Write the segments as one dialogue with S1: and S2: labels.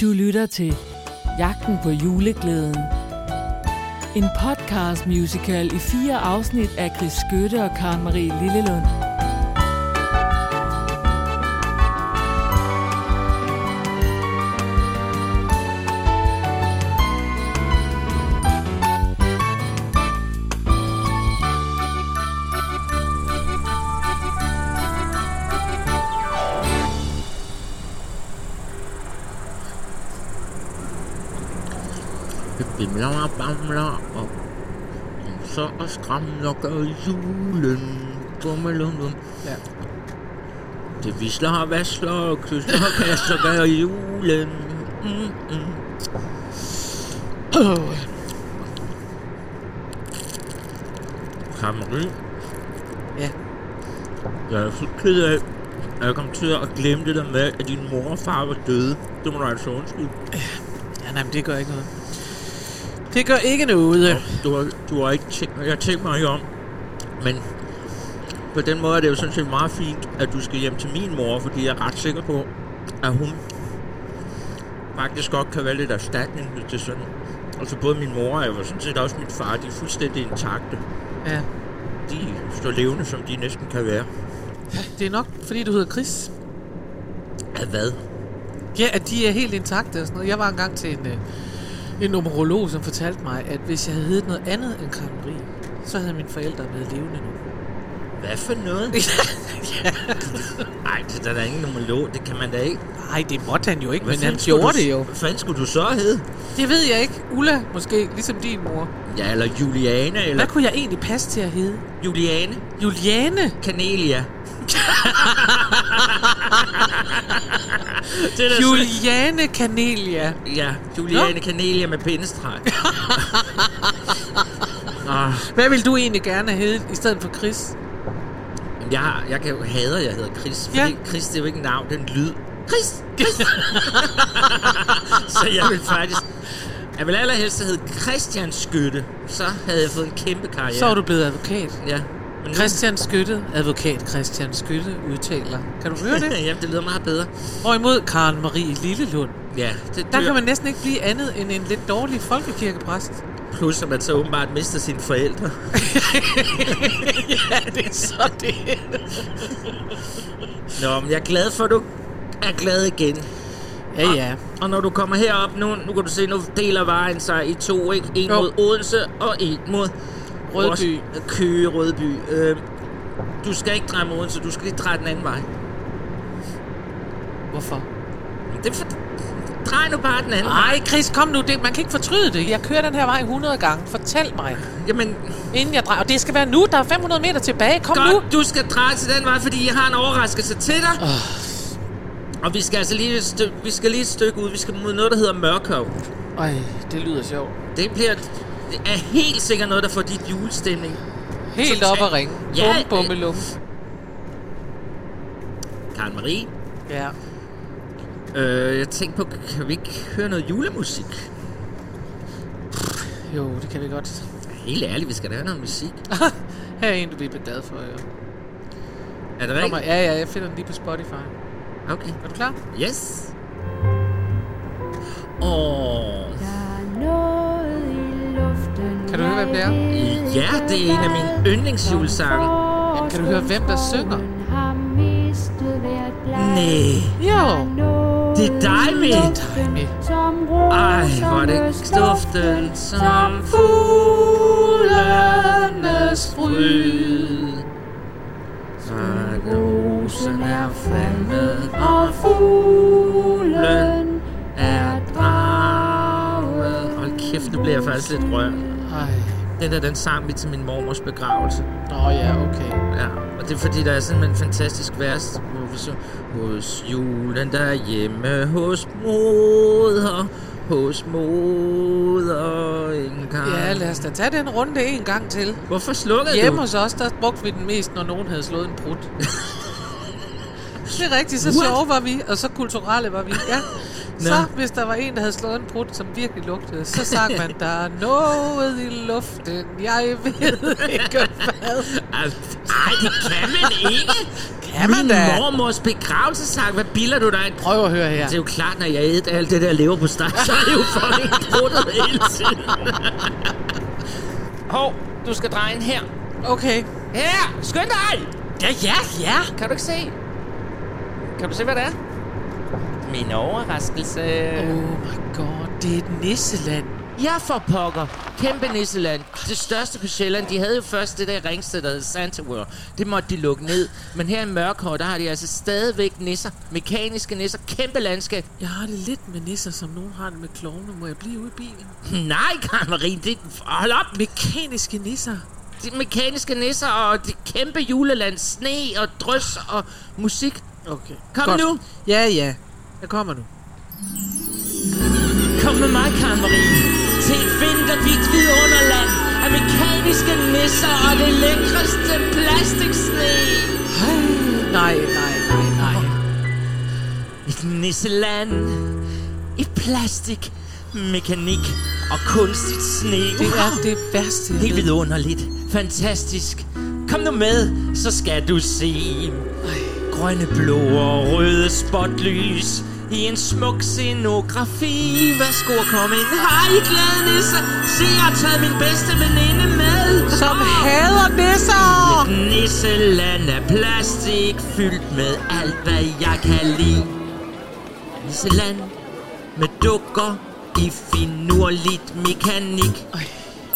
S1: Du lytter til Jagten på juleglæden. En podcast musical i fire afsnit af Chris Skøtte og Karen Marie Lillelund.
S2: Det bimler og bamler og så og skramler gør julen. Bummelumlum.
S3: Ja.
S2: Det visler og vasler og kysler og kaster gør julen. Mm, mm. Åh. Kammeri.
S3: Ja.
S2: Jeg er så ked af, at jeg kom til at glemme det der med, at din mor og far var døde. Det må du altså undskylde.
S3: Ja, nej, men det gør ikke noget. Det gør ikke noget.
S2: Du har, du har ikke tænkt, jeg har tænkt mig ikke om, men på den måde er det jo sådan set meget fint, at du skal hjem til min mor, fordi jeg er ret sikker på, at hun faktisk godt kan være lidt erstatning til sådan. Altså både min mor og jeg var sådan set også min far, de er fuldstændig intakte.
S3: Ja.
S2: De står levende, som de næsten kan være.
S3: Det er nok, fordi du hedder Chris.
S2: Af hvad?
S3: Ja, at de er helt intakte og sådan noget. Jeg var engang til en, øh, en numerolog, som fortalte mig, at hvis jeg havde heddet noget andet end Karen Marie, så havde mine forældre været levende nu.
S2: Hvad for noget? Nej, det er da ingen numerolog, det kan man da ikke.
S3: Nej, det måtte han jo ikke,
S2: Hvad
S3: men han
S2: fanden skulle
S3: gjorde
S2: du-
S3: det jo.
S2: Hvad fanden skulle du så hedde?
S3: Det ved jeg ikke. Ulla, måske, ligesom din mor.
S2: Ja, eller Juliane, eller
S3: Hvad kunne jeg egentlig passe til at hedde?
S2: Juliane.
S3: Juliane?
S2: Cornelia. det er da så-
S3: Juliane Canelia.
S2: Ja, Juliane Cornelia med pindestreg. ah,
S3: Hvad vil du egentlig gerne hedde i stedet for Chris?
S2: jamen, jeg, har, jeg kan jo hader, at jeg hedder Chris. Fordi
S3: Ja.
S2: Chris, det er jo ikke en navn, det er en lyd. Chris! Chris! så jeg vil faktisk... Jeg vil allerhelst hedde Christian Skytte. Så havde jeg fået en kæmpe karriere.
S3: Så er du blevet advokat.
S2: Ja. Men nu-
S3: Christian Skytte, advokat Christian Skytte, udtaler. Kan du høre det?
S2: Jamen, det lyder meget bedre.
S3: Hvorimod Karen Marie Lillelund,
S2: Ja, det
S3: der
S2: dør-
S3: kan man næsten ikke blive andet end en lidt dårlig folkekirkepræst.
S2: Plus, at man så åbenbart mister sine forældre.
S3: ja, det er så det.
S2: Nå, men jeg er glad for, at du er glad igen.
S3: Ja, ja.
S2: Og når du kommer herop nu, nu kan du se, nu deler vejen sig i to, ikke? En
S3: Jo.
S2: mod Odense og en mod
S3: Rødby.
S2: Ros- Køge, Rødby. Øh, du skal ikke dreje mod Odense, du skal lige dreje den anden vej.
S3: Hvorfor?
S2: Det er for... Drej nu bare den anden
S3: Nej, Chris, kom nu. Det, man kan ikke fortryde det. Jeg kører den her vej 100 gange. Fortæl mig,
S2: Jamen,
S3: inden jeg drejer. Og det skal være nu. Der er 500 meter tilbage. Kom nu.
S2: godt, du skal dreje til den vej, fordi jeg har en overraskelse til dig. Og vi skal altså lige et, stykke, vi skal lige et stykke ud. Vi skal mod noget, der hedder Mørkov.
S3: Øj, det lyder sjovt.
S2: Det bliver... Det er helt sikkert noget, der får dit julestemning.
S3: Helt op og ringe.
S2: Ja,
S3: Bum, bumme, lum.
S2: Karen Marie,
S3: Ja.
S2: øh, jeg tænkte på, kan vi ikke høre noget julemusik?
S3: Jo, det kan vi godt.
S2: Helt ærligt, vi skal da høre noget musik.
S3: Ah, her er en, du bliver glad for, jo.
S2: Er det
S3: Kommer,
S2: rigtigt?
S3: ja, ja, jeg finder den lige på Spotify.
S2: Okay.
S3: Er du klar?
S2: Yes. Åh.
S4: Kan du høre, hvad det er?
S2: Ja, det er en af mine yndlingsjulesange.
S4: Jamen, kan du høre, hvem der synger?
S2: Næh,
S3: Jo.
S2: det er dig, mit.
S3: Ej,
S2: Ej, hvor er det stuften som
S3: Fuglenes
S2: fryd. Snakke rosen er faldet, og fuglen er draget. Hold kæft, nu bliver jeg faktisk lidt rørt.
S3: Ej.
S2: Den der, den sang vi til min mormors begravelse.
S3: Nå ja, okay.
S2: Ja, og det er fordi, der er sådan en fantastisk vers, hvor vi så... Hos julen derhjemme, hos moder, hos moder, ingen gang.
S3: Ja, lad os da tage den runde en gang til.
S2: Hvorfor slukkede
S3: Hjemme
S2: du?
S3: hos os, der brugte vi den mest, når nogen havde slået en brud. Det er rigtigt, så
S2: What?
S3: sjove var vi, og så kulturelle var vi, ja.
S2: Nå.
S3: Så hvis der var en, der havde slået en brud, som virkelig lugtede, så sang man, der er noget i luften, jeg ved ikke hvad.
S2: Ej, det kan man ikke!
S3: kan man
S2: Min
S3: da.
S2: mormors begravelsesang, hvad bilder du dig? ind?
S3: Prøv at høre her.
S2: Det er jo klart, når jeg æder alt det der lever på steg, så er det jo fucking bruttet hele tiden. Hov, du skal dreje ind her.
S3: Okay.
S2: Her! Skynd dig!
S3: Ja, ja, ja.
S2: Kan du ikke se? Kan du se, hvad det er? Min overraskelse.
S3: Oh my god, det er et nisseland.
S2: Ja, for pokker. Kæmpe Nisseland. Det største på Sjælland. De havde jo først det der ringsted, der hed Santa World. Det måtte de lukke ned. Men her i Mørkhår, der har de altså stadigvæk nisser. Mekaniske nisser. Kæmpe landskab.
S3: Jeg har det lidt med nisser, som nogen har det med klovne. Må jeg blive ude i bilen?
S2: Nej, Karin, det... Hold op!
S3: Mekaniske nisser.
S2: De mekaniske nisser og det kæmpe juleland. Sne og drøs og musik.
S3: Okay.
S2: Kom
S3: Godt.
S2: nu.
S3: Ja, ja. Jeg kommer nu.
S2: Kom med mig, Karin. Til et vinterhvidt vidunderland af mekaniske nisser og det lækreste plastiksne.
S3: Nej, nej, nej, nej.
S2: Et nisseland i plastik, mekanik og kunstigt sne.
S3: Det er det værste, jeg
S2: Helt
S3: ved.
S2: vidunderligt. Fantastisk. Kom nu med, så skal du se. Grønne, blå og røde spotlys i en smuk scenografi. Værsgo at komme ind. Hej, glade nisser. Se, jeg har taget min bedste veninde med.
S3: Som
S2: Åh!
S3: hader nisser!
S2: Et nisseland af plastik Fyldt med alt hvad jeg kan lide Nisseland med dukker I finurligt mekanik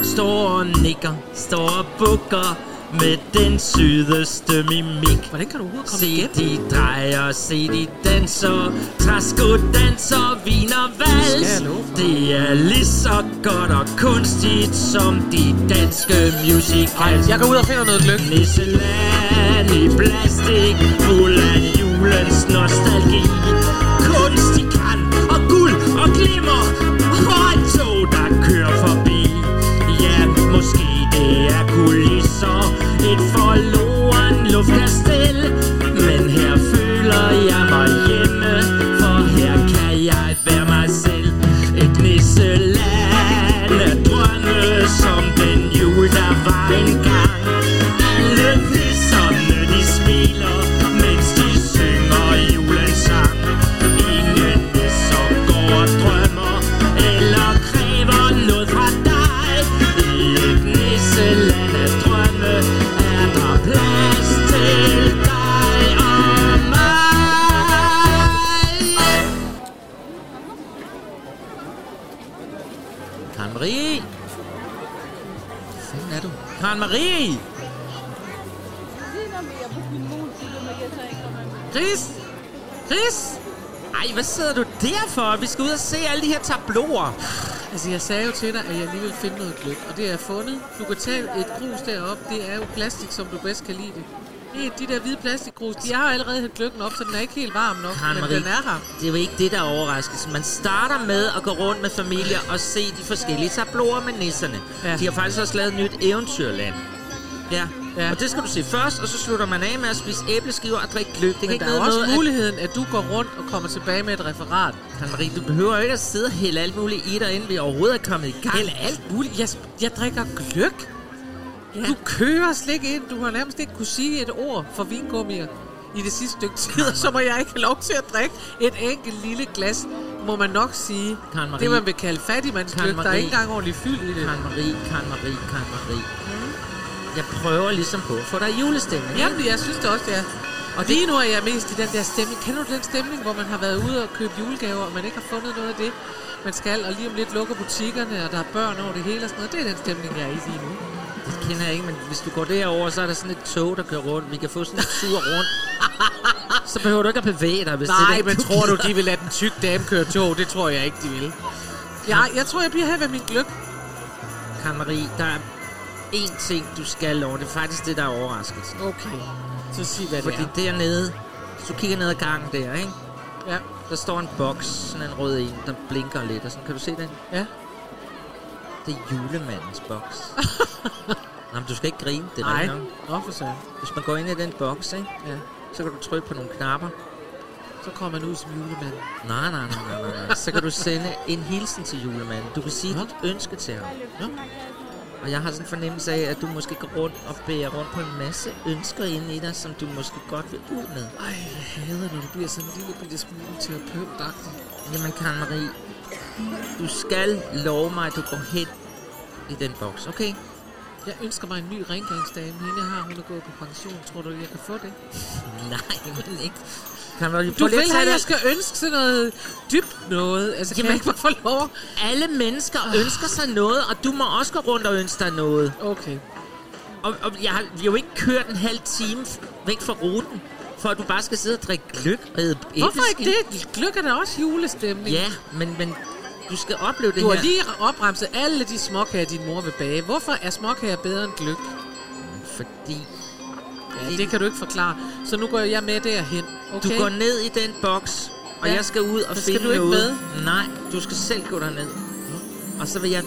S2: Står og nikker, står og bukker Med den sydeste mimik
S3: Hvordan kan du overhovedet komme
S2: Se
S3: igennem?
S2: de drejer, se de danser Træsko danser, viner
S3: Det skal
S2: vals
S3: jeg love for.
S2: Det er lige så godt og kunstigt Som de danske musicals
S3: Jeg går ud og finder noget gløk.
S2: Nisseland i plastik Fuld af julens nostalgi Kunst i kan og guld og glimmer Og et tog, der kører forbi Ja, måske det er kulisser Et forloren luftkastel Men her føler jeg mig hjemme For her kan jeg være mig selv Et nisseland af drømme Som den jul, der var engang alle nisserne, de smiler, mens de synger julens sang. Ingen nisser går og drømmer, eller kræver noget fra dig. I et nisseland af drømme, er der plads til dig og mig. Karen Marie! Hvor er du? Karen Marie! Chris! Chris! Ej, hvad sidder du der for? Vi skal ud og se alle de her tabloer.
S3: Altså, jeg sagde jo til dig, at jeg lige ville finde noget gløk, og det har jeg fundet. Du kan tage et grus derop. Det er jo plastik, som du bedst kan lide det. Det er de der hvide plastikgrus. De har allerede hældt gløkken op, så den er ikke helt varm nok,
S2: Karen
S3: men
S2: Marie,
S3: den er her.
S2: det er jo ikke det, der er overraskelsen. Man starter med at gå rundt med familier og se de forskellige tabloer med nisserne. Ja.
S3: Ja.
S2: De har faktisk også lavet et nyt eventyrland. Ja. ja,
S3: Ja.
S2: og det skal du se først, og så slutter man af med at spise æbleskiver og drikke gløb. Det kan
S3: Men
S2: ikke
S3: der er
S2: nytte
S3: også
S2: noget, at-
S3: muligheden, at du går rundt og kommer tilbage med et referat.
S2: Karen Marie, du behøver ikke at sidde og hælde alt muligt i dig, inden vi overhovedet er kommet i gang.
S3: Eller alt muligt. Jeg, jeg drikker gløk. Ja. Du kører slik ind. Du har nærmest ikke kunne sige et ord for vingummier i det sidste stykke tid, og så må jeg ikke have lov til at drikke et enkelt lille glas, må man nok sige.
S2: Karen Marie.
S3: Det, man vil kalde fattigmandsgløk,
S2: Karen
S3: der
S2: Marie.
S3: er ikke engang ordentlig fyld i det.
S2: Karen Marie, Karen Marie, Karen Marie.
S3: Mm.
S2: Jeg prøver ligesom på at få dig i julestemning. ikke?
S3: Jamen, jeg synes det også, det er. Og lige nu er jeg mest i den der stemning. Kender du den stemning, hvor man har været ude og købe julegaver, og man ikke har fundet noget af det, man skal, og lige om lidt lukker butikkerne, og der er børn over det hele og sådan noget. Det er den stemning, jeg er i lige nu.
S2: Det kender jeg ikke, men hvis du går derover, så er der sådan et tog, der kører rundt. Vi kan få sådan en tur rundt. Så behøver du ikke at bevæge dig, hvis
S3: Nej,
S2: det er
S3: men tror du, de vil lade den tykke dame køre tog? Det tror jeg ikke, de vil. Ja, jeg tror, jeg bliver her ved min gløb.
S2: Karen Marie, der er én ting, du skal over. Det er faktisk det, der er overraskelsen.
S3: Okay. Så sig, hvad det
S2: Fordi
S3: er.
S2: dernede, hvis du kigger ned ad gangen der, ikke?
S3: Ja.
S2: Der står en boks, sådan en rød en, der blinker lidt. Og sådan, kan du se den?
S3: ja.
S2: Det er julemandens boks. Nå, men du skal ikke grine, det er
S3: Nej.
S2: rigtig nok.
S3: Nå, for søren.
S2: Hvis man går ind i den boks, ikke?
S3: Ja.
S2: Så kan du trykke på nogle knapper.
S3: Så kommer man ud som julemand.
S2: Nej, nej, nej, nej, nej, nej. Så kan du sende en hilsen til julemanden. Du kan sige
S3: Nå.
S2: dit ønske til ham.
S3: Nå.
S2: Og jeg har sådan en fornemmelse af, at du måske går rundt og bærer rundt på en masse ønsker inde i dig, som du måske godt vil ud med.
S3: Ej, jeg hader, når det bliver sådan en lille bitte smule terapeutagtigt.
S2: Jamen, Karen Marie, du skal love mig, at du går hen i den boks, okay?
S3: Jeg ønsker mig en ny rengøringsdame. Hende har hun er gået på pension. Tror du, jeg kan få det?
S2: Nej, men ikke. Kan man
S3: Du vil have, at jeg skal ønske sådan noget dybt noget. Altså, kan jeg
S2: Jamen-
S3: ikke bare få lov?
S2: Alle mennesker ønsker sig noget, og du må også gå rundt og ønske dig noget.
S3: Okay.
S2: Og, og jeg har vi har jo ikke kørt en halv time f- væk fra ruten, for at du bare skal sidde og drikke gløk og æde
S3: Hvorfor ikke
S2: æbleskind.
S3: det? Gløk er da også julestemning.
S2: Ja, men, men du skal opleve det
S3: Du har
S2: her.
S3: lige opremset alle de småkager, din mor vil bage. Hvorfor er småkager bedre end gløk?
S2: Fordi
S3: Ja, det kan du ikke forklare. Så nu går jeg med derhen.
S2: du
S3: Okay?
S2: går ned i den boks, og
S3: Ja.
S2: jeg skal ud og
S3: Så skal
S2: finde
S3: du ikke
S2: noget. med? Nej, du skal selv gå derned. Og så vil jeg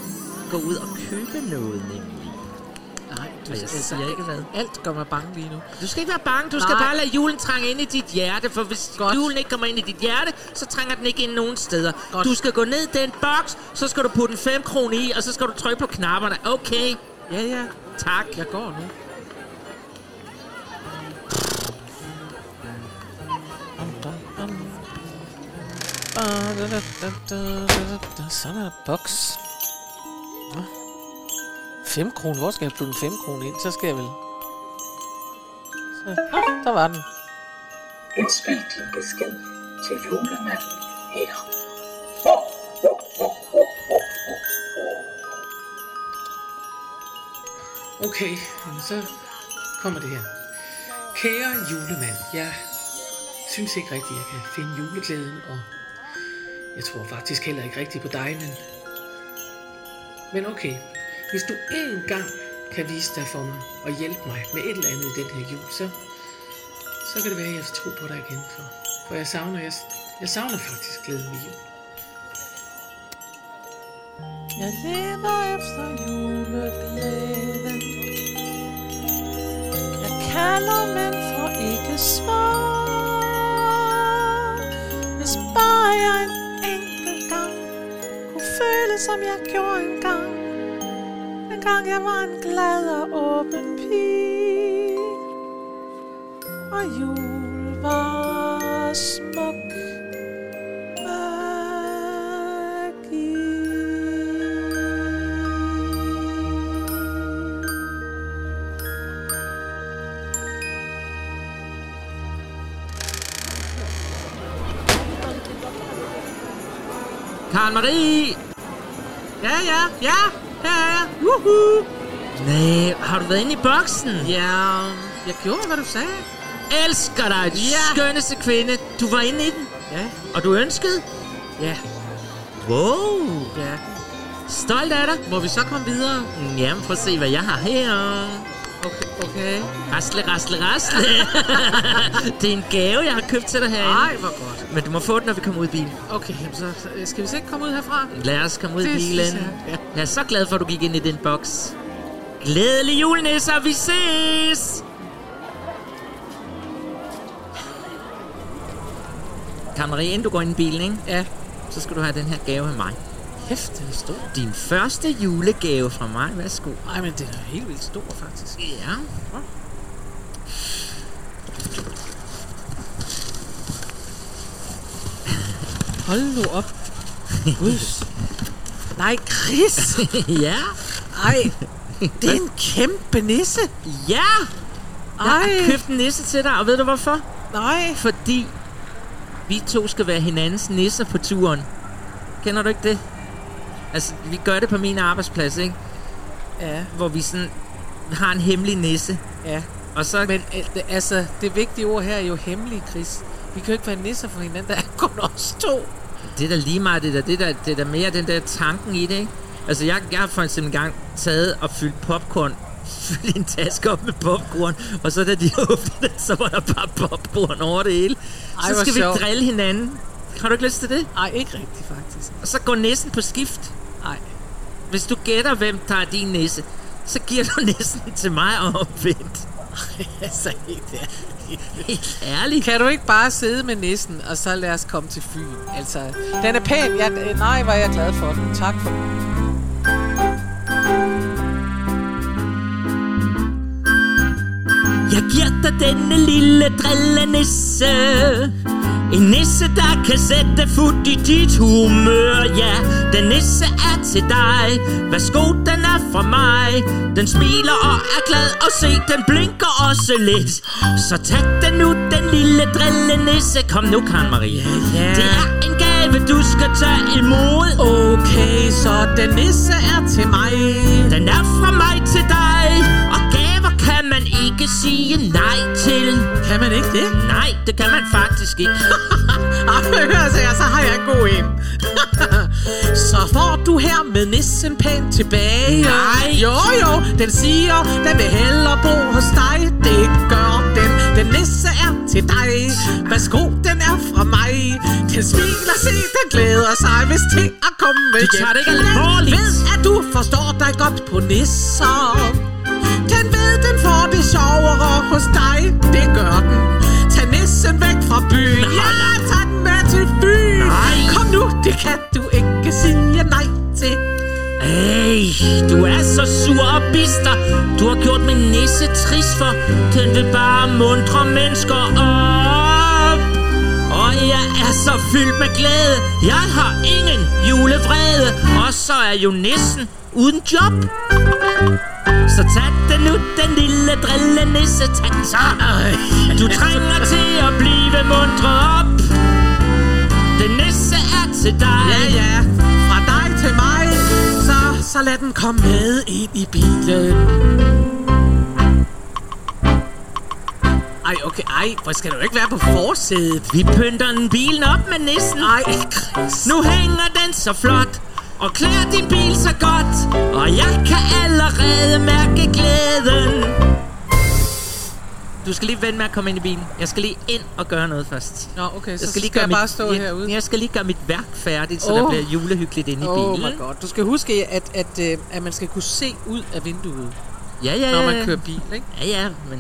S2: gå ud og købe noget, nemlig.
S3: Nej, du altså-
S2: Og jeg siger ikke hvad.
S3: Alt gør mig bange lige nu.
S2: Du skal ikke være bange, du skal
S3: Nej.
S2: bare lade julen trænge ind i dit hjerte, for hvis Godt.
S3: Godt.
S2: julen ikke kommer ind i dit hjerte, så trænger den ikke ind nogen steder. Godt.
S3: Godt.
S2: Du skal gå ned i den boks, så skal du putte en 5 krone i, og så skal du trykke på knapperne. Okay,
S3: Ja, ja.
S2: tak.
S3: Jeg går nu.
S4: Så er der boks. 5 kroner. Hvor skal jeg putte en 5 kroner ind? Så skal jeg vel... Så, ah, der var den.
S5: En smertelig besked til julemanden her.
S4: Okay, jamen så kommer det her. Kære julemand, jeg synes ikke rigtigt, jeg kan finde juleglæden, og jeg tror faktisk heller ikke rigtigt på dig, men... Men okay, hvis du én gang kan vise dig for mig og hjælpe mig med et eller andet i den her jul, så, så kan det være, at jeg tror på dig igen, for, for jeg, savner, jeg, jeg savner faktisk glæden ved jul.
S1: Jeg leder efter juleglæden Jeg kalder, men får ikke svar Hvis bare jeg en enkelt gang Kunne føle, som jeg gjorde engang Dengang jeg var en glad og åben pige Og jul var smuk
S2: Karen Marie!
S3: Ja, ja, ja. Her er jeg. Woohoo.
S2: Nej, har du været inde i boksen?
S3: Ja, jeg gjorde, hvad du sagde.
S2: Elsker dig, du
S3: Ja.
S2: skønneste kvinde. Du var inde i den,
S3: Ja,
S2: og du ønskede.
S3: ja,
S2: Wow,
S3: ja.
S2: stolt af dig.
S3: Må vi så komme videre?
S2: Jamen, prøv at se, hvad jeg har her.
S3: Okay, okay.
S2: Rasle, rasle, rasle. det er en gave, jeg har købt til dig herinde.
S3: Ej, hvor godt.
S2: Men du må få den, når vi kommer ud i bilen.
S3: Okay, jamen så så skal vi så ikke komme ud herfra?
S2: Lad os komme ud i
S3: Det synes
S2: bilen.
S3: jeg, ja.
S2: Jeg er så glad for, at du gik ind i den boks. Glædelig jul, nisser. Vi ses! Karen Marie, inden du går ind i bilen, ikke?
S3: Ja.
S2: så skal du have den her gave af mig.
S3: Kæft, den er stor.
S2: Din første julegave fra mig. Værsgo.
S3: Ej, men den er helt vildt stor, faktisk.
S2: Ja.
S3: Hold nu op. Guds. Nej, Chris.
S2: ja.
S3: Ej, det er en kæmpe nisse.
S2: Ja! Jeg har
S3: Ej.
S2: købt en nisse til dig, og ved du hvorfor?
S3: Nej.
S2: Fordi vi to skal være hinandens nisser på turen. Kender du ikke det? Altså, vi gør det på min arbejdsplads, ikke?
S3: Ja,
S2: Hvor vi sådan har en hemmelig nisse.
S3: ja.
S2: Og så...
S3: Men øh, det- altså, det vigtige ord her er jo hemmelig, Chris. Vi kan jo ikke være nisser for hinanden. Der er kun os to.
S2: Det er da lige meget det der, det der, det der mere den der tanken i det, ikke? Altså, jeg, jeg har for eksempel engang taget og fyldt popcorn, fyldt en taske op med popcorn, og så da de åbnede den, så var der bare popcorn over det hele.
S3: Ej,
S2: så
S3: hvor
S2: skal vi
S3: sjovt.
S2: drille hinanden. Har du ikke lyst til det?
S3: Nej, ikke rigtigt, faktisk.
S2: Og så går næsten på skift.
S3: Nej.
S2: Hvis du gætter, hvem der er din næse, så giver du næsten til mig og omvendt.
S3: altså, helt ærligt.
S2: Helt ærligt.
S3: Kan du ikke bare sidde med nissen, og så lad os komme til Fyn? Altså, den er pæn. Jeg, nej, var jeg glad for den. Tak for den.
S2: Pjatter denne lille drillenisse En nisse, der kan sætte fod i dit humør Ja, den nisse er til dig Værsgo, den er fra mig Den smiler og er glad Og se, den blinker også lidt Så tag den nu, den lille drillenisse Kom nu, Karen Marie
S3: ja.
S2: Det er en gave, du skal tage imod
S3: Okay, så den nisse er til mig.
S2: Den er fra mig til dig Og gaver kan man ikke sige nej til
S3: Kan man ikke det?
S2: Nej, det kan man faktisk ikke
S3: Ej, altså, ja, så har jeg en god en. så får du her med nissen pænt tilbage.
S2: Nej.
S3: Jo, jo, den siger, den vil hellere bo hos dig. Det gør den. Den nisse er til dig. Værsgo, den er fra mig. Den smiler, se, den glæder sig, hvis til at komme med
S2: Du tager det ikke alvorligt.
S3: Den ved, at du forstår dig godt på nisser. Den ved, den får det sjovere hos dig. Det gør den. Tag nissen væk fra byen. Ja, tag den med til byen.
S2: Nej.
S3: Kom nu, det kan du ikke sige nej til.
S2: Ej, du er så sur og bister. Du har gjort min nisse trist for. Den vil bare mundre mennesker op. Og jeg er så fyldt med glæde. Jeg har ingen julevrede. Og så er jo nissen uden job. Så tag den nu, den lille drille nisse. Tag den så. Du trænger til at blive mundre op. Den nisse er til dig.
S3: Ja, ja. Fra dig til mig. Så, så lad den komme med ind i bilen. Ej, okay, ej, hvor skal du ikke være på forsædet?
S2: Vi pynter den bilen op med nissen.
S3: Ej, Chris.
S2: Nu hænger den så flot og klæder din bil så godt. Og jeg kan allerede mærke glæden. Du skal lige vente med at komme ind i bilen. Jeg skal lige ind og gøre noget først.
S3: Nå, okay, så
S2: Jeg
S3: skal, lige skal jeg
S2: mit-
S3: bare stå
S2: jeg,
S3: herude.
S2: Jeg skal lige gøre mit værk færdigt, så
S3: Åh.
S2: oh. der bliver julehyggeligt inde i
S3: Oh
S2: bilen.
S3: my god. Du skal huske, at, at, øh, at man skal kunne se ud af vinduet,
S2: Ja, ja,
S3: når
S2: ja.
S3: man kører bil, ikke?
S2: Ja, ja, men...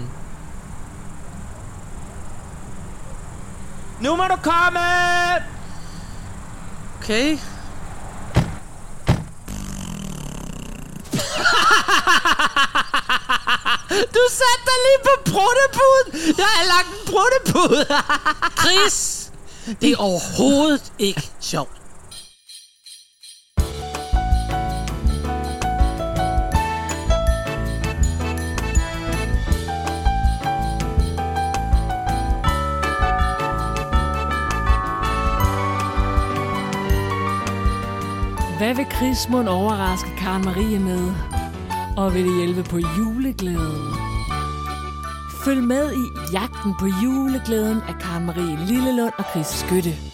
S2: Nu må du komme!
S3: Okay.
S2: Du satte dig lige på bruttepuden! Jeg har lagt en bruttepude!
S3: Chris! Det er overhovedet ikke sjovt.
S6: Hvad vil Chris Mund overraske Karen Marie med? Og vil det hjælpe på juleglæden? Følg med i Jagten på juleglæden af Karen Marie Lillelund og Chris Skytte.